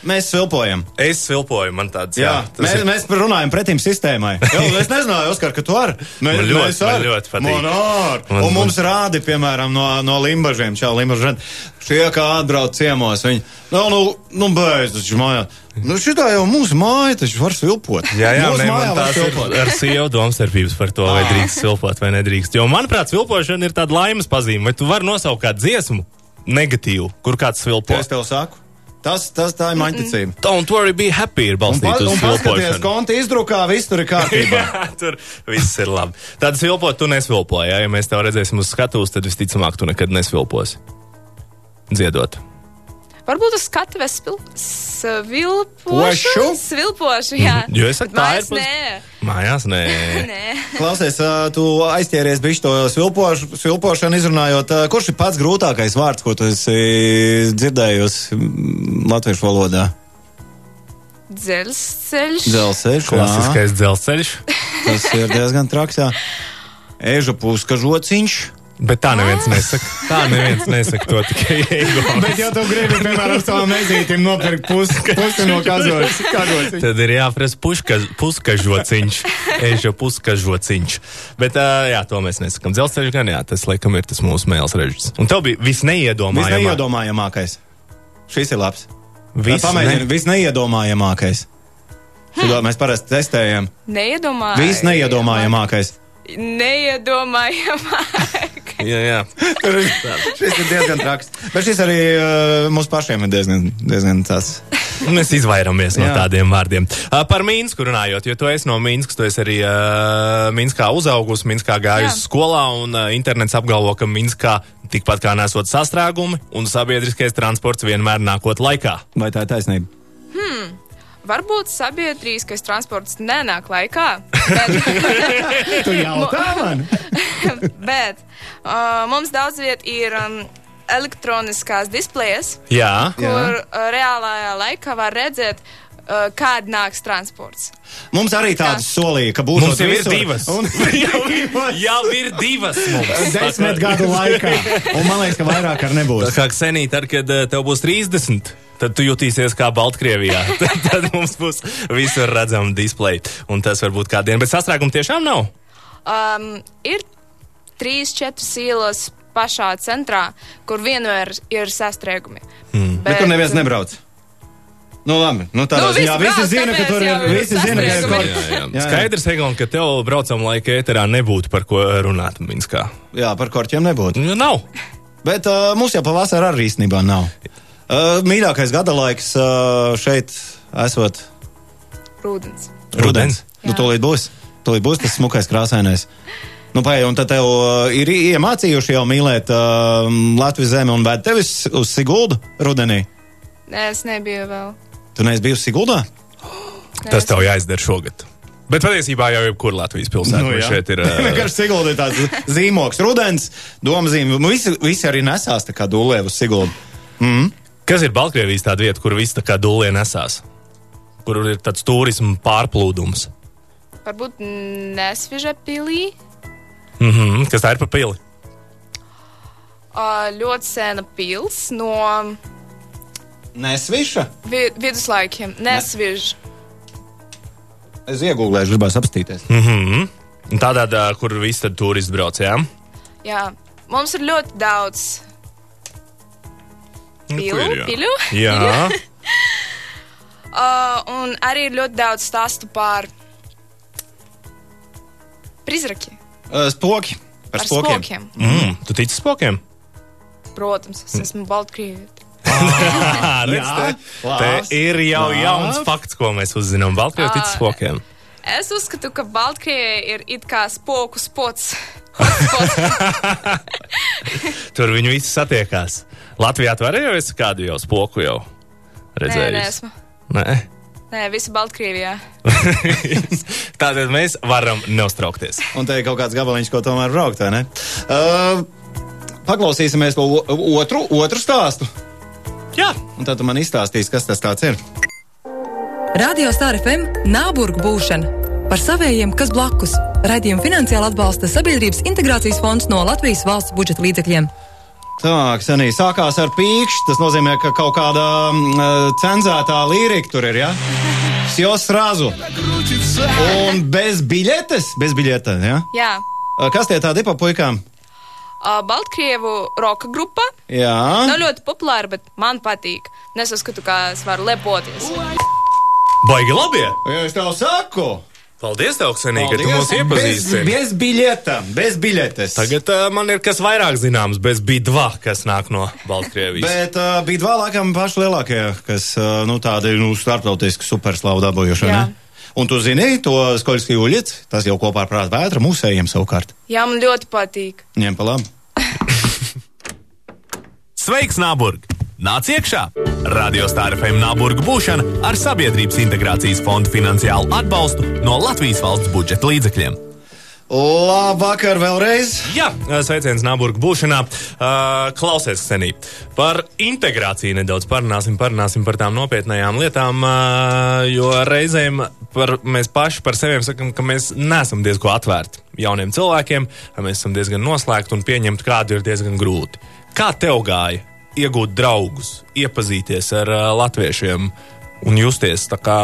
Speaker 3: Mēs svilpojam.
Speaker 2: Es vilpoju, man tāds
Speaker 3: Jā,
Speaker 2: tas
Speaker 3: mēs,
Speaker 2: ir-
Speaker 3: mēs runājam pretim sistēmai. Jā, es nezināju, Oskar, ka tu vari. Mē,
Speaker 2: Man ļoti, man ļoti patīk.
Speaker 3: Man ar.
Speaker 2: Man-
Speaker 3: Un mums rādi, piemēram, no, no Limbažiem, čau, Limbažiem. Šie, kā atbrauc ciemos, viņi, nu, nu, nu beidz, taču mājā. Nu, šitā jau mūsu māja, taču var svilpot.
Speaker 2: Jā, jā,
Speaker 3: mūsu Ah.
Speaker 2: nē,
Speaker 3: mājā
Speaker 2: man
Speaker 3: var
Speaker 2: tās ir
Speaker 3: svilpot.
Speaker 2: ar sievu domstarpības par to, vai drīkst silpot vai nedrīkst. Jo, manuprāt, vilpošana ir tāda laimes pazīme. Vai tu vari nosaukt kādu dziesmu negatīvu, kur kāds vilpo?
Speaker 3: Ko es tev saku? Tas, tas tā ir maņticība.
Speaker 2: Don't worry, be happy ir
Speaker 3: Un, pa,
Speaker 2: balstīta uz
Speaker 3: un paskaties,
Speaker 2: vilpošanu.
Speaker 3: konta izdrukā, viss tur ir kārtībā.
Speaker 2: Jā, Tur viss ir labi. Tad vilpot, tu nesvilpoji. Ja? ja mēs tev redzēsim uz skatuves, tad visticamāk tu nekad nesvilposi. Dziedot.
Speaker 4: Varbūt uz skatuves spil- svilpošu.
Speaker 3: Pošu?
Speaker 4: Svilpošu, jā.
Speaker 2: Jo es saku, tā
Speaker 4: Mājās
Speaker 2: ir
Speaker 4: Nē,
Speaker 2: Mājās, nē.
Speaker 4: nē.
Speaker 3: Klausies, ā, tu aizķēries pie to svilpoš, svilpošanu, izrunājot, ā, kurš ir pats grūtākais vārds, ko tu esi dzirdējusi mm, latviešu valodā?
Speaker 4: Dzelzceļš.
Speaker 3: Dzelzceļš, jā.
Speaker 2: Klasiskais dzelzceļš.
Speaker 3: Tas ir diezgan traks. jā. Eža puska žociņš.
Speaker 2: Bet tā neviens nesaka. Tā neviens nesaka to tikai ego.
Speaker 3: Bet, ja tu gribi, piemēram, savam mezītim nopirkt pusi, pusi no kazoļas, kagoļas.
Speaker 2: Tad ir jāprasa puška- puskažociņš, eža puskažociņš. Bet ā, jā, to mēs nesakām. Dzelzceļš gan jā, tas laikam ir tas mūsu mēls režģis. Un tev bija
Speaker 3: Viss
Speaker 2: visneiedomājamākais.
Speaker 3: neiedomājamākais. Šis ir labs. Pamēģini, viss neiedomājamākais. Šito mēs parasti testējam.
Speaker 4: Neiedomājamākais.
Speaker 3: Viss neiedomājamākais.
Speaker 4: Neiedomājamākais.
Speaker 2: Jā, jā.
Speaker 3: šis ir diezgan traks. Bet šis arī uh, mums pašiem ir diezgan, diezgan tāds.
Speaker 2: Mēs izvairāmies no
Speaker 3: Jā.
Speaker 2: tādiem vārdiem. Uh, par Mīnsku runājot, jo tu esi no Mīnskas, tu esi arī uh, Mīnskā uzaugusi, Mīnskā gājusi
Speaker 4: Jā.
Speaker 2: skolā, un uh, internets apgalvo, ka Mīnskā tikpat kā nesot sastrēgumi, un sabiedriskais transports vienmēr nākot laikā.
Speaker 3: Vai tā ir taisnība?
Speaker 4: Varbūt sabiedrīskais transports nenāk laikā, bet,
Speaker 3: Tu jautā man?
Speaker 4: bet uh, mums daudz viet ir um, elektroniskās displejas,
Speaker 2: Jā,
Speaker 3: Jā.
Speaker 4: kur uh, reālajā laikā var redzēt, uh, kad nāks transports.
Speaker 3: Mums arī tāds solīja, ka būs
Speaker 2: Mums jau ir divas.
Speaker 3: Un,
Speaker 2: jau ir divas mums.
Speaker 3: Desmit gadu laikā. Un man liekas, ka vairāk ar
Speaker 2: Tā
Speaker 3: nebūs.
Speaker 2: kā senī, tad, kad eh, tev būs 30. Tad tu jutīsies kā Baltkrievijā. Tad, tad mums būs visur redzama displeja. Un tas var būt kādiem. Bet sastrēgumu tiešām nav.
Speaker 4: Um, ir trīs, četras ielas pašā centrā, kur vienmēr ir sastrēgumi. Mm.
Speaker 3: Bet tur neviens nebrauc. Nu, labi. Nu, tādā
Speaker 4: Nu,
Speaker 3: ziņā
Speaker 4: visi
Speaker 3: visi
Speaker 4: brauc,
Speaker 3: zina, ka
Speaker 4: tāpēc
Speaker 3: tur ir.
Speaker 4: jau ir
Speaker 3: Visi zina, ka ir
Speaker 4: sastrēgumi.
Speaker 3: kaut
Speaker 2: Jā, jā.
Speaker 3: Jā, jā.
Speaker 2: Skaidrs, Egon, ka tev braucam laika ēterā nebūtu par ko runāt Minskā.
Speaker 3: Jā, par korķiem nebūtu.
Speaker 2: Nu, nav.
Speaker 3: Bet uh, mums jau pavasarī arī īstenībā nav. Uh, mīļākais gada laiks uh, šeit esot
Speaker 4: Rūdens.
Speaker 3: Rudens.
Speaker 2: Rudens.
Speaker 3: Nu, tūlīt būs. Tūlīt būs tas smukais, krāsainais. Nu, pai, un tad tev uh, ir iemācījuši jau mīlēt uh, Latvijas zemi un vēd tevis uz Siguldu rudenī.
Speaker 4: Nē, es nebiju vēl.
Speaker 3: Tu neesi bijusi Siguldā?
Speaker 2: Tas tev jāizdara šogad. Bet patiesībā jau jebkur Latvijas pilsētā nu, šeit ir. eh,
Speaker 3: Vienkārši Sigulda ir uh, tāds zīmoks. Rudens, domzīme. Nu, Visi, visi arī nesās tā kā dūlē uz Siguldu.
Speaker 2: Kas ir Baltkrievijas tā vieta, kur viss tā kā dūlē nesās? Kur ir tāds turismu pārplūdums?
Speaker 4: Varbūt nesviža pilī.
Speaker 2: Mm -hmm. Kas tā ir par pili?
Speaker 4: Ā, ļoti sena pils no
Speaker 3: Nesviša?
Speaker 4: Vi- Viduslaikiem nesviž.
Speaker 3: Es iegūlēju, gribēju apstīties.
Speaker 2: Mhm. Un Tādā, tā, kur visi tad turisti brauc, jā?
Speaker 4: Jā, mums ir ļoti daudz
Speaker 2: Nu,
Speaker 4: pilu,
Speaker 2: kur ir, jā?
Speaker 4: pilu.
Speaker 2: Jā,
Speaker 4: Uh, un arī ir ļoti daudz stāstu par prizraki,
Speaker 3: Uh, spoki. Par
Speaker 4: par
Speaker 3: spokiem.
Speaker 4: spokiem.
Speaker 2: mm, tu tici spokiem?
Speaker 4: Protams, es esmu Baltkrievi.
Speaker 2: Jā,
Speaker 3: Jā,
Speaker 2: Te
Speaker 3: lāsts.
Speaker 2: ir jau
Speaker 3: Lāsts.
Speaker 2: jauns fakts, ko mēs uzzinām. Baltkrievs
Speaker 3: Ah.
Speaker 2: tic spokiem.
Speaker 4: Es uzskatu, ka Baltkrievija ir it kā spoku spots. Hotspots.
Speaker 2: Tur viņi visi satiekās. Latvijā tu arī jau esi kādu jau spoku jau
Speaker 4: Nē, nē,
Speaker 2: redzējis.
Speaker 4: esmu.
Speaker 2: Nē, nē.
Speaker 4: Nē, visi Baltkrievijā.
Speaker 2: Tātad mēs varam neuztraukties.
Speaker 3: Un te ir kaut kāds gabaliņš, ko tomēr braukt, vai ne? Uh, paklausīsimies to o- otru, otru stāstu.
Speaker 2: Jā,
Speaker 3: Un tad tu man izstāstīsi, kas tas tāds ir.
Speaker 1: Radio Star FM Nāburgu būšana par savējiem, kas blakus. Radījumu finansiāli atbalsta Sabiedrības integrācijas fonds no Latvijas valsts budžeta līdzekļiem.
Speaker 3: Tā, senī sākās ar pīkšu. Tas nozīmē, ka kaut kāda mm, cenzētā lirika tur ir, jā? Ja? Sjos razu. Un bez biļetes, bez biļeta, jā? Ja?
Speaker 4: Jā,
Speaker 3: Uh, Kas tie tādi pa puikām?
Speaker 4: uh, Baltkrievu roka grupa.
Speaker 3: Jā.
Speaker 4: Nav Nu, ļoti populāra, bet man patīk. Un Es uzskatu, ka es varu lepoties.
Speaker 2: baigi labi!
Speaker 3: Jā, es tev saku.
Speaker 2: Paldies, tev, Ksenī, ka tu
Speaker 3: Paldies.
Speaker 2: mūs iepazīstini.
Speaker 3: Bez, bez biļeta, bez biļetes.
Speaker 2: Tagad uh, man ir kas vairāk zināms, bez bija dva, kas nāk no Baltkrievijas.
Speaker 3: Bet uh, bija divi laikam paši lielākie, kas uh, nu, tādi nu, starptautiski superslavu dabūjuši. vai
Speaker 4: Jā.
Speaker 3: ne? Un tu zini, to Skoļskiju ulici, tas jau kopā ar prātu vētra mūsējiem savukārt.
Speaker 4: Jā, man ļoti patīk.
Speaker 3: Ņem pa labi.
Speaker 5: Sveiks, Nāburg! Nāc iekšā! Radio Star FM Nāburga būšana ar Sabiedrības integrācijas fondu finansiālu atbalstu no Latvijas valsts budžeta līdzekļiem.
Speaker 3: Labvakar vēlreiz!
Speaker 2: Jā, sveiciens Nāburgu būšanā. Uh, Klausies, Senī, par integrāciju nedaudz parunāsim, parunāsim par tām nopietnējām lietām, uh, jo reizēm par, mēs paši par sevi sakam, ka mēs neesam diezgan atvērti jauniem cilvēkiem, mēs esam diezgan noslēgti un pieņemt kādu ir diezgan grūti. Kā tev gāja iegūt draugus, iepazīties ar uh, latviešiem un justies tā kā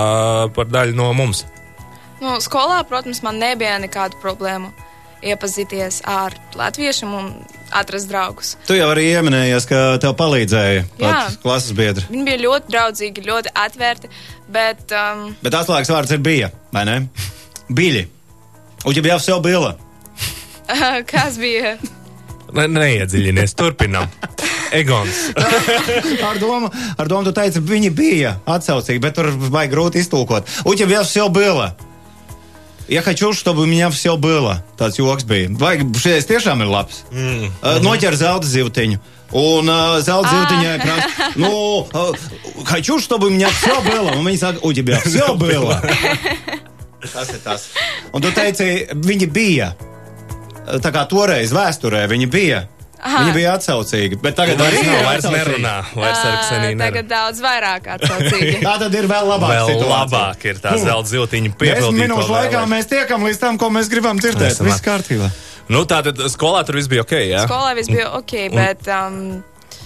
Speaker 2: par daļu no mums?
Speaker 4: Nu, skolā, protams, man nebija nekādu problēmu iepazīties ar latviešiem un atrast draugus.
Speaker 3: Tu jau arī pieminējies, ka tev palīdzēja pat
Speaker 4: Jā.
Speaker 3: klases biedri.
Speaker 4: Viņi bija ļoti draugi, ļoti atvērti, bet um,
Speaker 3: Bet atslēgas vārds ir bija, vai ne? Biļi. Un jau jau jau bija.
Speaker 4: kas bija?
Speaker 2: Ne, neiedziļinies, turpinam. Egons.
Speaker 3: Ar domu, ar domu tu teici, viņi bija atsaucīgi, bet tur vajag grūti iztulkot. Un jau jau bija. Ja хочу, чтобы у меня все было. Tāds joks bija. Vai šis tiešām ir labs? Mm. Uh, Noķer zelta zivtiņu. Un uh, zelta zivtiņā krāsa. Nu, uh, хочу, чтобы у меня все было. Un viņi saka, у тебя все было. Tas ir tas. Un tu teici, viņi bija. Uh, Tā kā toreiz vēsturē viņi bija. Aha.
Speaker 4: Aha.
Speaker 3: Viņi bija atsaucīgi. Bet tagad
Speaker 2: Vairs
Speaker 3: arī
Speaker 2: nav,
Speaker 3: ir
Speaker 2: vairs
Speaker 3: atsaucīgi.
Speaker 2: nerunā. Vairs ar
Speaker 4: Ā,
Speaker 2: Kseniju
Speaker 4: Ah, tagad
Speaker 2: nerunā.
Speaker 4: daudz vairāk atsaucīgi.
Speaker 3: Tā tad ir vēl labāk.
Speaker 2: Vēl
Speaker 3: situācija.
Speaker 2: labāk ir tā zelta ziltiņa
Speaker 3: Desmit
Speaker 2: piepildīta.
Speaker 3: minūšu laikā mēs tiekam līdz tam, ko mēs gribam dzirdēt.
Speaker 2: Esam
Speaker 3: Viss
Speaker 2: at-
Speaker 3: kārtībā.
Speaker 2: Nu, tā tad skolā tur viss bija ok, jā?
Speaker 4: Skolā viss bija ok, bet um,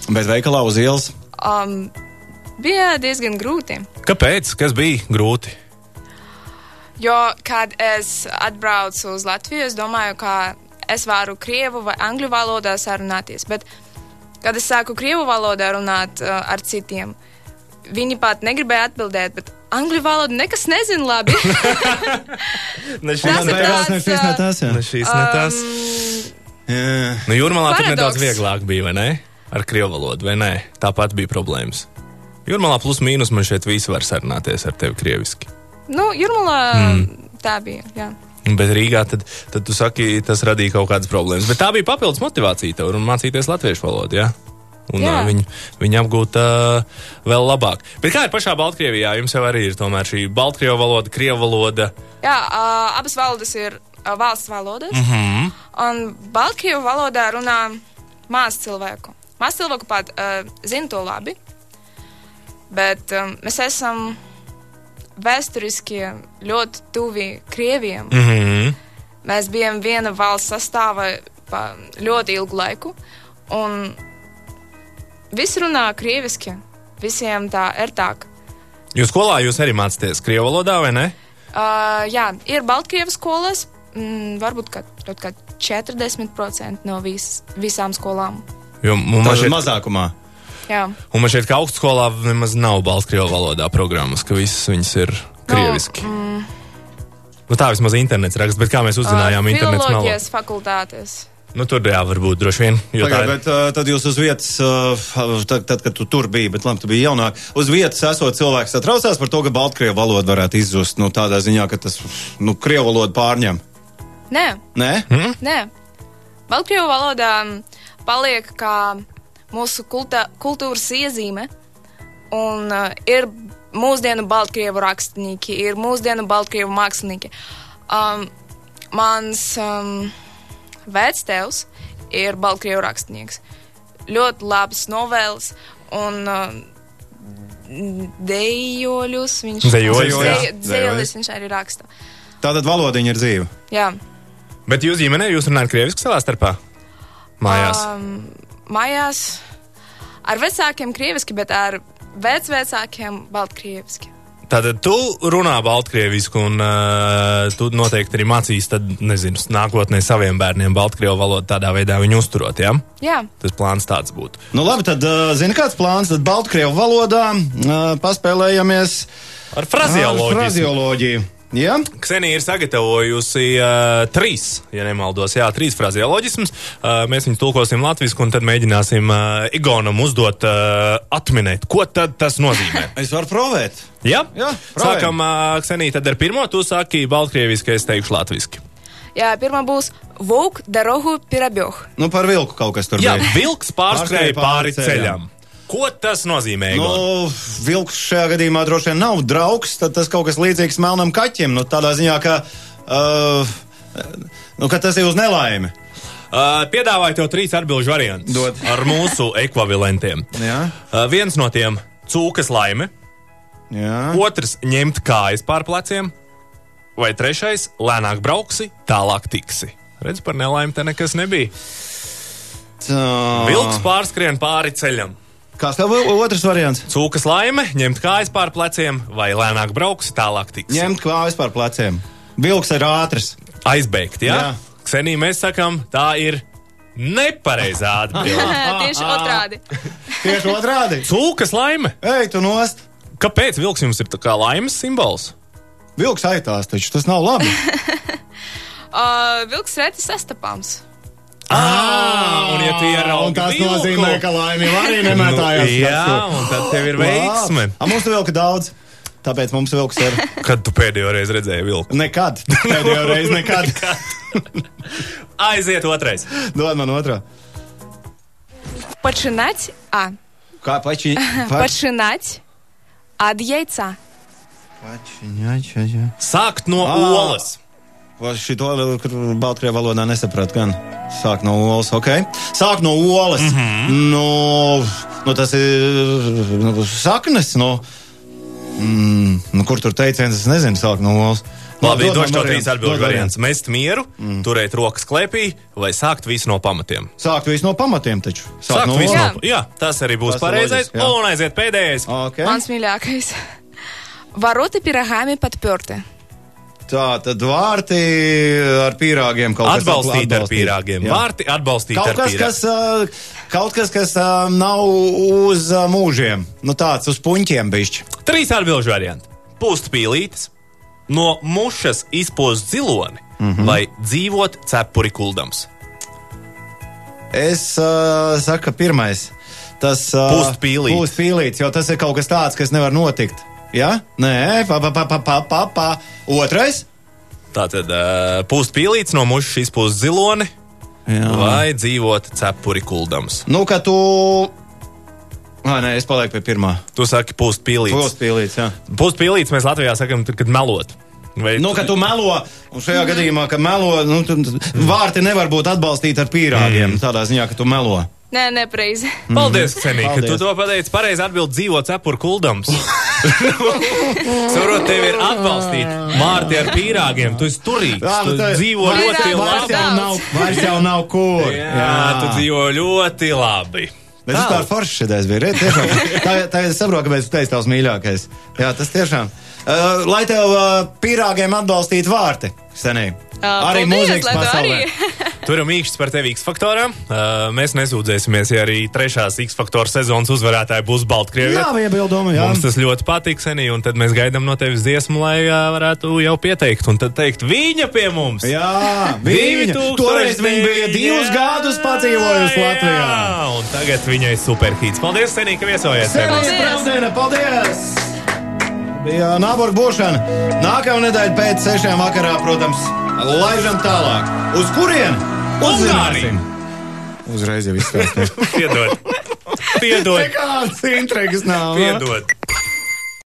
Speaker 3: Bet veikalā uz ielas.
Speaker 4: um, bija diezgan grūti.
Speaker 2: Kāpēc? Kas bija grūti?
Speaker 4: Jo, kad es atbraucu uz Latviju, es domāju, ka es varu krievu vai angļu valodā sarunāties. Bet, kad es sāku krievu valodā runāt uh, ar citiem, viņi pat negribēja atbildēt, bet angļu valodu nekas nezinu labi.
Speaker 2: Ne šis,
Speaker 4: Tas
Speaker 2: ne
Speaker 4: ir
Speaker 2: tas.
Speaker 4: tāds, uh,
Speaker 3: šis ne tas. jā.
Speaker 2: Ne šis, ne tas.
Speaker 3: Jā.
Speaker 2: Nu, jūrmalā tur
Speaker 4: paradoks.
Speaker 2: nedaudz vieglāk bija, vai ne? Ar krievu valodu, vai ne? Tāpat bija problēmas. Jūrmalā plus mīnus man šeit visi var sarunāties ar tevi krieviski.
Speaker 4: nu, Jurmalā mm. tā bija. Jā.
Speaker 2: Bet Rīgā tad, tad tu saki, tas radīja kaut kādas problēmas. Bet tā bija papildus motivācija tev un mācīties latviešu valodu. Ja? Un
Speaker 4: Jā.
Speaker 2: uh, viņi, viņi apgūta uh, vēl labāk. Bet kā ir pašā Baltkrievijā? Jums jau arī ir tomēr šī Baltkrievu valoda, Krievu valoda.
Speaker 4: Jā, uh, abas valodas ir uh, valsts valodas. Mm -hmm. Un Baltkrievu valodā runā maz cilvēku. Maz cilvēku pat uh, zina to labi. Bet um, mēs esam vēsturiski ļoti tuvi Krievijam. Mm.
Speaker 2: Mm
Speaker 3: Mhm.
Speaker 2: -hmm.
Speaker 4: Mēs bijām viena valsts sastāvā pa ļoti ilgu laiku. Un viss runā krieviski. visiem tā ērtāk.
Speaker 2: Jo skolā jūs arī mācāties krievu valodā, vai ne?
Speaker 4: Uh, jā, ir Baltkrievijas skolas, mm, varbūt ka, kaut kā 40% no vis, visām skolām.
Speaker 2: Jo mums
Speaker 3: Tas ir
Speaker 2: šeit,
Speaker 3: mazākumā.
Speaker 4: Jā.
Speaker 2: un man šeit ka augstskolā nemaz nav balsts krievu valodā programmas, ka visas viņas ir
Speaker 4: Nu,
Speaker 2: krieviski. No, mm, nu, tā vismaz internets raksts, bet kā mēs uzzinājām, uh, internets nav.
Speaker 4: filoloģijas fakultātes.
Speaker 2: Nu, tur jā, varbūt droši vien. Jo
Speaker 3: Pagāj,
Speaker 2: tā ir.
Speaker 3: bet, ā, tad jūs uz vietas, ā, tad, tad, kad tu tur biji, bet labi, tu biji jaunāk, uz vietas esot cilvēks satraucās par to, ka Baltkrievu valoda varētu izzust. Nu, tādā ziņā, ka tas nu, Krievu valodu pārņem.
Speaker 4: Nē,
Speaker 3: Nē?
Speaker 2: Hmm?
Speaker 4: mm? nē. Baltkrievu valodā mm, paliek kā mūsu kulta, kultūras iezīme. Un uh, ir mūsdienu Baltkrievu rakstnieki, ir mūsdienu Baltkrievu mākslinieki. Um, mans um, vectēvs ir Baltkrievu rakstnieks. Ļoti labs novēls un um, dejoļus. Viņš
Speaker 2: Dejojus, jā.
Speaker 4: Dejo- dejojus viņš arī raksta.
Speaker 3: Tātad valodiņa ir dzīva.
Speaker 4: Jā.
Speaker 2: bet jūs ģimenē jūs runājat krieviski savā starpā? Mājās. Uh,
Speaker 4: Um, mājās ar vecākiem krieviski, bet ar vecvecākiem baltkrieviski.
Speaker 2: Tātad tu runā baltkrievisku, un uh, tu noteikti arī mācīs, tad, nezinu, nākotnē saviem bērniem baltkrievu valodu tādā veidā viņu uzturot. Ja?
Speaker 4: Jā,
Speaker 2: Tas plāns tāds būtu.
Speaker 3: Nu, labi, tad, ā, zini, kāds plāns? Tad Baltkrievu valodā ā, paspēlējamies
Speaker 2: Ar
Speaker 3: ar
Speaker 2: frazioloģiju.
Speaker 3: frazioloģiju. Ja?
Speaker 2: Ksenija ir sagatavojusi uh, trīs, ja nemaldos, jā, trīs frazioloģismus. Uh, mēs viņus tulkosim latviešu, un tad mēģināsim uh, Igonam uzdot, uh, atminēt, ko tad tas nozīmē.
Speaker 3: Es varu provēt.
Speaker 2: Jā,
Speaker 3: Jā, pravējam.
Speaker 2: sākam uh, Ksenija, tad ar pirmo tu sāki baltkrieviski, es teikšu latviešu.
Speaker 4: jā pirmā būs Vuk Darohu Pirabjoh.
Speaker 3: Nu, par vilku kaut kas tur
Speaker 2: Jā,
Speaker 3: bija.
Speaker 2: vilks pārskrēja
Speaker 3: Pārskrēja pāri
Speaker 2: pāri ceļam. Ko tas nozīmē?
Speaker 3: Nu,
Speaker 2: Igon?
Speaker 3: vilks šajā gadījumā droši vien nav draugs. Tad tas kaut kas līdzīgs melnam kaķim. Nu, tādā ziņā, ka, uh, nu, ka tas ir uz nelaimi.
Speaker 2: Uh, piedāvāju tev trīs atbildžu variantus
Speaker 3: Dod.
Speaker 2: ar mūsu ekvivalentiem.
Speaker 3: Jā,
Speaker 2: Uh, viens no tiem - cūkas laime,
Speaker 3: jā.
Speaker 2: otrs - ņemt kājas pār pleciem, vai trešais - lēnāk brauksi, tālāk tiksi. Redz, par nelaimi te nekas nebija.
Speaker 3: Tā.
Speaker 2: Vilks pārskrien pāri ceļam.
Speaker 3: Kāds tev vēl otrs variants?
Speaker 2: Cūkas laime, ņemt kājas pār pleciem, vai lēnāk brauksi, tālāk tiksi.
Speaker 3: Ņemt klājas par pleciem. Vilks ir ātrs.
Speaker 2: Aizbeigt, jā? jā.
Speaker 3: Jā.
Speaker 2: Ksenī, mēs sakām, tā ir nepareizā atbilde.
Speaker 4: Tieši otrādi.
Speaker 3: Tieši otrādi.
Speaker 2: Cūkas laime!
Speaker 3: Ej, tu nost!
Speaker 2: Kāpēc vilks jums ir tā kā laimes simbols?
Speaker 3: Vilks aitās, taču tas nav labi.
Speaker 4: Uh, vilks reti sastapams.
Speaker 2: Ah, un ja tie ir
Speaker 3: Un tas
Speaker 2: vilku,
Speaker 3: nozīmē, ka laimība arī nemētājās.
Speaker 2: nu, jā, un tad tev ir veiksme.
Speaker 3: A, mums tur vilka daudz. Tāpēc mums vilks ir
Speaker 2: Kad tu pēdējo reizi redzēji vilku?
Speaker 3: nekad. Pēdējo reizi nekad.
Speaker 2: Aiziet otrais.
Speaker 3: Dod man otru.
Speaker 4: Pačināt, a,
Speaker 3: Kā pači?
Speaker 4: pačināt, ad jaica.
Speaker 3: Pači, jā, jā, jā.
Speaker 2: Sākt no
Speaker 3: Ah.
Speaker 2: olas.
Speaker 3: Vai Šito vēl, kur Baltkrievā valodā nesapratu. Gan. Sāk no olas, ok. Sāk no olas. Mm -hmm.
Speaker 2: Mhm.
Speaker 3: no, no tas ir nu, saknes. No, mm, nu, kur tur teiciens, es nezinu, sāk no olas.
Speaker 2: Labi,
Speaker 3: Dod man
Speaker 2: došu tev
Speaker 3: variantu,
Speaker 2: trīs atbildīgos
Speaker 3: dod variantu.
Speaker 2: variants. Mest mieru, mm. turēt rokas klēpī vai sākt visu no pamatiem.
Speaker 3: Sākt visu no pamatiem taču. Sākt
Speaker 2: Sākt
Speaker 3: no
Speaker 2: visu
Speaker 3: olas.
Speaker 2: no
Speaker 4: olas.
Speaker 2: pamatiem. Jā, tas arī būs
Speaker 3: Tas ir
Speaker 2: pareizais.
Speaker 3: loģiski, jā.
Speaker 2: Un aiziet pēdējais.
Speaker 3: Okay.
Speaker 4: Mans mīļākais. Varoti piragami patpörti.
Speaker 3: Tā tad vārti ar pīrāgiem kaut kas
Speaker 2: Atbalstīt ar
Speaker 3: atbalstīt.
Speaker 2: pīrāgiem.
Speaker 3: Jā.
Speaker 2: Vārti atbalstīt
Speaker 3: Kaut
Speaker 2: ar
Speaker 3: kas,
Speaker 2: pīrāgiem.
Speaker 3: kas, ā, kaut kas, kas ā, nav uz ā, mūžiem, nu tāds uz puņķiem bišķi.
Speaker 2: Trīs atbildžu varianti. Pūst pīlītes, no mušas izpūst ziloni mm
Speaker 3: Mhm.
Speaker 2: -hmm. vai dzīvot cepuri kuldams.
Speaker 3: Es uh, saku, ka pirmais tas uh,
Speaker 2: Pūst pīlīt.
Speaker 3: Pūst pīlīts, jo tas ir kaut kas tāds, kas nevar notikt. Jā, nē, pa, pa, pa, pa, pa, pa, pa. Otrais?
Speaker 2: Tātad uh, pūst pīlītes, no mušas izpūst ziloni
Speaker 3: Jā.
Speaker 2: vai dzīvot cepuri kuldams.
Speaker 3: Nu, ka tu. Ai, nē, es palieku pie pirmā.
Speaker 2: Tu saki, pūst pīlītes.
Speaker 3: Pūst pīlīts, jā.
Speaker 2: Pūst pīlītes mēs Latvijā sakam, tad, kad melot. Vai,
Speaker 3: Nu, ka tu melo, un
Speaker 2: Mm.
Speaker 3: šajā gadījumā, ka melo, nu, tu, tu- vārti nevar būt atbalstīti ar pīrāgiem. Tādā ziņā, ka tu melo.
Speaker 4: Nē, nepreizi.
Speaker 2: Paldies, Ksenī, ka
Speaker 3: Mhm. Paldies.
Speaker 2: tu to pateici. Pareizi atbild dzīvot cepuri kuldams. Saprot, tev ir atbalstīt mārti ar pīrāgiem. Tu esi turīgs.
Speaker 3: Jā,
Speaker 2: tu
Speaker 3: nu, tā-
Speaker 2: dzīvo
Speaker 3: vairs-
Speaker 2: ļoti labi.
Speaker 3: Vairs
Speaker 4: vairāk-
Speaker 3: jau nav, vairs jau nav kur.
Speaker 2: Jā, tu dzīvo ļoti labi.
Speaker 3: Bet tas bija forši šodien. Bija, re, tiešām, tā, tā es saprotu, kāpēc tas ir tavs mīļākais. Jā, tas tiešām. Uh, lai tev uh, pīrāgiem atbalstītu vārti, senī.
Speaker 4: Ā,
Speaker 3: arī
Speaker 4: Uh, paldies,
Speaker 3: mūzikas
Speaker 4: lai tu
Speaker 3: pasaulē.
Speaker 4: arī-
Speaker 2: Turim īkšķis par tevi X faktorā. Uh, mēs nesūdzēsimies, ja arī trešās X faktora sezonas uzvarētāja būs Baltkrievija.
Speaker 3: Nav iebildumu, jā.
Speaker 2: Mums tas ļoti patīk, Senī, un tad mēs gaidām no tevis dziesmu, lai uh, varētu jau pieteikt. Un tad teikt, viņa pie mums!
Speaker 3: Jā,
Speaker 2: Divi
Speaker 3: viņa,
Speaker 2: tūkstoši
Speaker 3: toreiz viņa bija
Speaker 2: deviņi-
Speaker 3: divus
Speaker 2: Jā,
Speaker 3: gadus pacīvojusi Latvijā.
Speaker 2: Jā, un tagad viņai superhīts. Paldies, Senī, ka viesojies! pie mums.
Speaker 3: Senī Pravdēna, paldies! Bija nāborga būšana. Nākamā nedēļa pēc sešiem vakarā, protams, laižam tālāk. Uz kurien?
Speaker 2: Ungārija!
Speaker 3: Uzreiz jau izstāstīju.
Speaker 2: Piedod! Piedod!
Speaker 3: Nekādas intrigas nav. nu.
Speaker 2: Piedod!